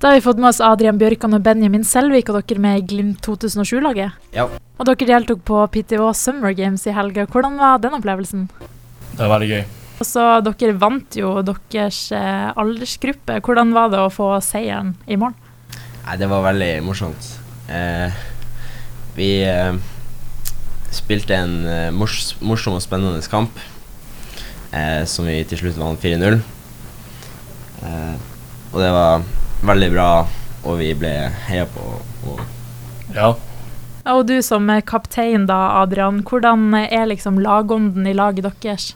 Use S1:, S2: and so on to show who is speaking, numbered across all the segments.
S1: Da har vi fått med oss Adrian Bjørkan og Benjamin Selvik og dere med i Glimt 2007-laget.
S2: Ja.
S1: Og dere deltok på PTV Summer Games i helga. Hvordan var den opplevelsen?
S3: Det er veldig gøy.
S1: Og så dere vant jo deres eh, aldersgruppe. Hvordan var det å få seieren i morgen?
S2: Nei, det var veldig morsomt. Eh, vi eh, spilte en eh, mors morsom og spennende kamp, eh, som vi til slutt vant 4-0. Eh, og det var veldig bra, og vi ble heia på. Og
S3: Ja.
S1: Og du som eh, kaptein da, Adrian. Hvordan er liksom lagånden i laget deres?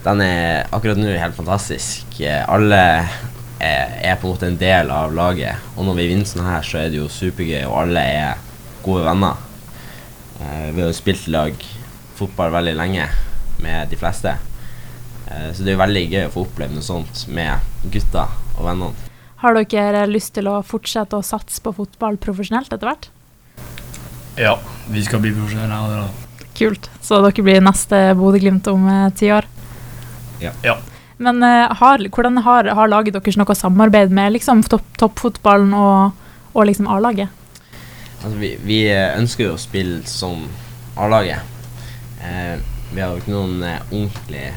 S2: den er akkurat nå helt fantastisk. Eh, Alle eh, er på en måte en del av laget, og når vi vinner sånn her, så er det jo supergøy, og alle er gode venner. Eh, Vi har jo spilt i lag fotball veldig lenge med de fleste, Eh, så det er jo veldig gøy å få oppleve noe sånt med gutta og vennene.
S1: Har dere lyst til å fortsette å satse på fotball profesjonelt etter hvert?
S3: ja. Vi skal bli profesjonelle. av det da.
S1: Kult. Så dere blir neste Bodø-Glimt om eh, ti år?
S2: Ja.
S3: Ja.
S1: Men eh, har, hvordan har, har laget deres noe samarbeid med liksom, topp, toppfotballen og, og liksom A-laget?
S2: Altså, vi, vi eh, ønsker jo å spille som A-laget. Eh, vi har jo ikke noen eh, ordentlige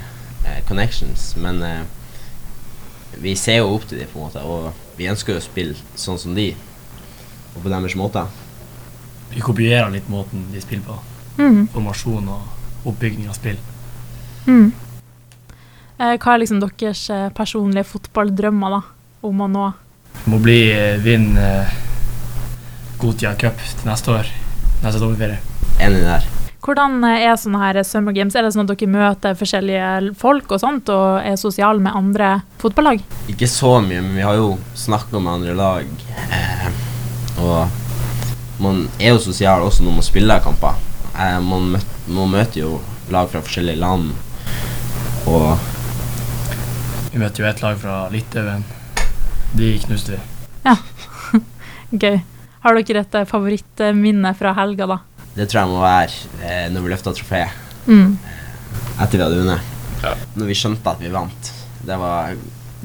S2: eh, connections, men eh, vi ser jo opp til dem, på en måte, og vi ønsker jo å spille sånn som de, og på deres måter.
S3: Vi kopierer litt måten de spiller på.
S1: Mm,
S3: Formasjon og oppbygging av spill.
S1: mm. Eh, hva er liksom deres eh, personlige fotballdrømmer da, om å nå?
S3: Må bli eh, vinne eh, Gotia Cup til neste år. Neste sommerferie.
S2: Enig der.
S1: Hvordan eh, er sånne her Summer Games? Er det sånn at dere møter forskjellige folk og sånt, og er sosiale med andre fotballag?
S2: Ikke så mye, men vi har jo snakka med andre lag. Eh, og man er jo sosial også når man spiller kamper. Eh, man, møt, man møter jo lag fra forskjellige land, og
S3: Vi møtte jo et lag fra Litauen. De knuste vi.
S1: Gøy. Har dere et eh, favorittminne fra helga, da?
S2: Det tror jeg må være eh, når vi løfta trofé
S1: Mm.
S2: etter vi hadde vunnet.
S3: Ja.
S2: Når vi skjønte at vi vant. Det var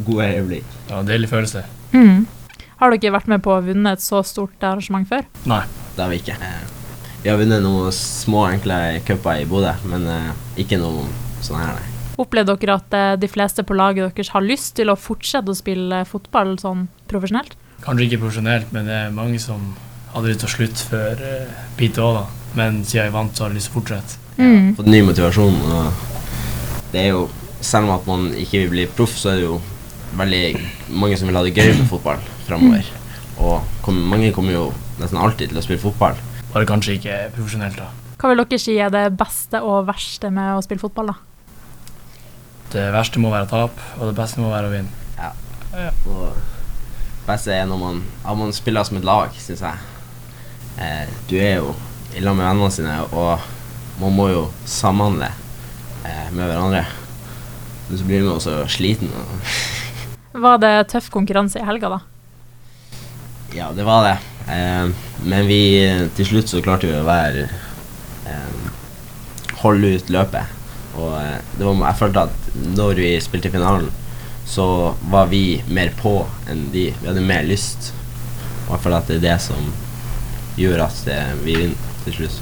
S2: gode øyeblikk.
S3: Det var en deilig følelse.
S1: Mm. Har dere vært med på å vinne et så stort arrangement før?
S3: Nei.
S2: Det har vi ikke. Eh, vi har vunnet noen små, enkle cuper i Bodø, men eh, ikke noe sånn her, nei.
S1: Opplevde dere at eh, de fleste på laget deres har lyst til å fortsette å spille fotball sånn profesjonelt?
S3: Kanskje ikke profesjonelt, men det er mange som hadde lyst til å slutte før uh, Pete òg, da. Men siden jeg vant, så har jeg lyst til å fortsette.
S1: Mm.
S2: Fått ny motivasjon. Og det er jo, selv om at man ikke vil bli proff, så er det jo veldig mange som vil ha det gøy med fotball framover. Og kom, mange kommer jo nesten alltid til å spille fotball.
S3: Bare kanskje ikke profesjonelt, da.
S1: Hva vil dere si er det beste og verste med å spille fotball, da?
S3: Det verste må være tap, og det beste må være å vinne.
S2: Og beste er når man, at man spiller som et lag, syns jeg. Eh, du er jo i lag med vennene sine, og man må jo samhandle eh, med hverandre. Men så blir man også sliten. Og
S1: Var det tøff konkurranse i helga, da?
S2: ja, det var det. Eh, men vi til slutt så klarte vi å være eh, Holde ut løpet. Og eh, det var, jeg følte at når vi spilte i finalen, så var vi mer på enn de. Vi hadde mer lyst. Og jeg føler at det er det som gjør at eh, vi vinner til slutt.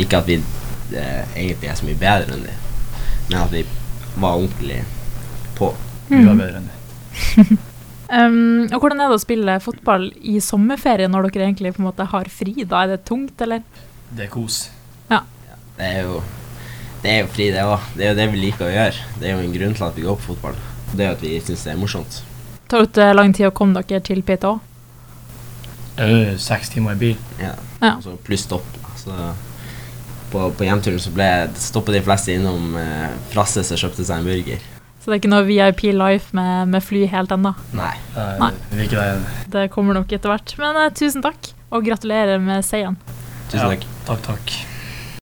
S2: Ikke at vi eh, egentlig er så mye bedre enn de, men at vi var ordentlig på.
S3: Vi var bedre enn det.
S1: Um, og hvordan er det å spille fotball i sommerferie når dere egentlig på en måte har fri? da? Er det tungt, eller?
S3: Det er kos.
S2: Det er jo, det er jo fri, det òg. Det er jo det vi liker å gjøre. Det er jo en grunn til at vi går på fotball. Det er jo at vi syns det er morsomt.
S1: Tar det eh, lang tid å komme dere til PTH?
S3: Det er jo seks timer i bil.
S2: Ja.
S1: Ja.
S2: Og så Altså, pluss stopp. da. Så på, på hjemturen så ble stoppet de fleste innom eh, Frasse som kjøpte seg en burger.
S1: Så det er ikke noe VIP life med, med fly helt ennå.
S2: Nei.
S3: Nei,
S1: Nei.
S3: Vi er ikke der ennå.
S1: Det kommer nok etter hvert. Men eh, tusen takk, og gratulerer med seieren.
S2: Tusen
S3: Ja.
S2: takk.
S3: Takk, takk.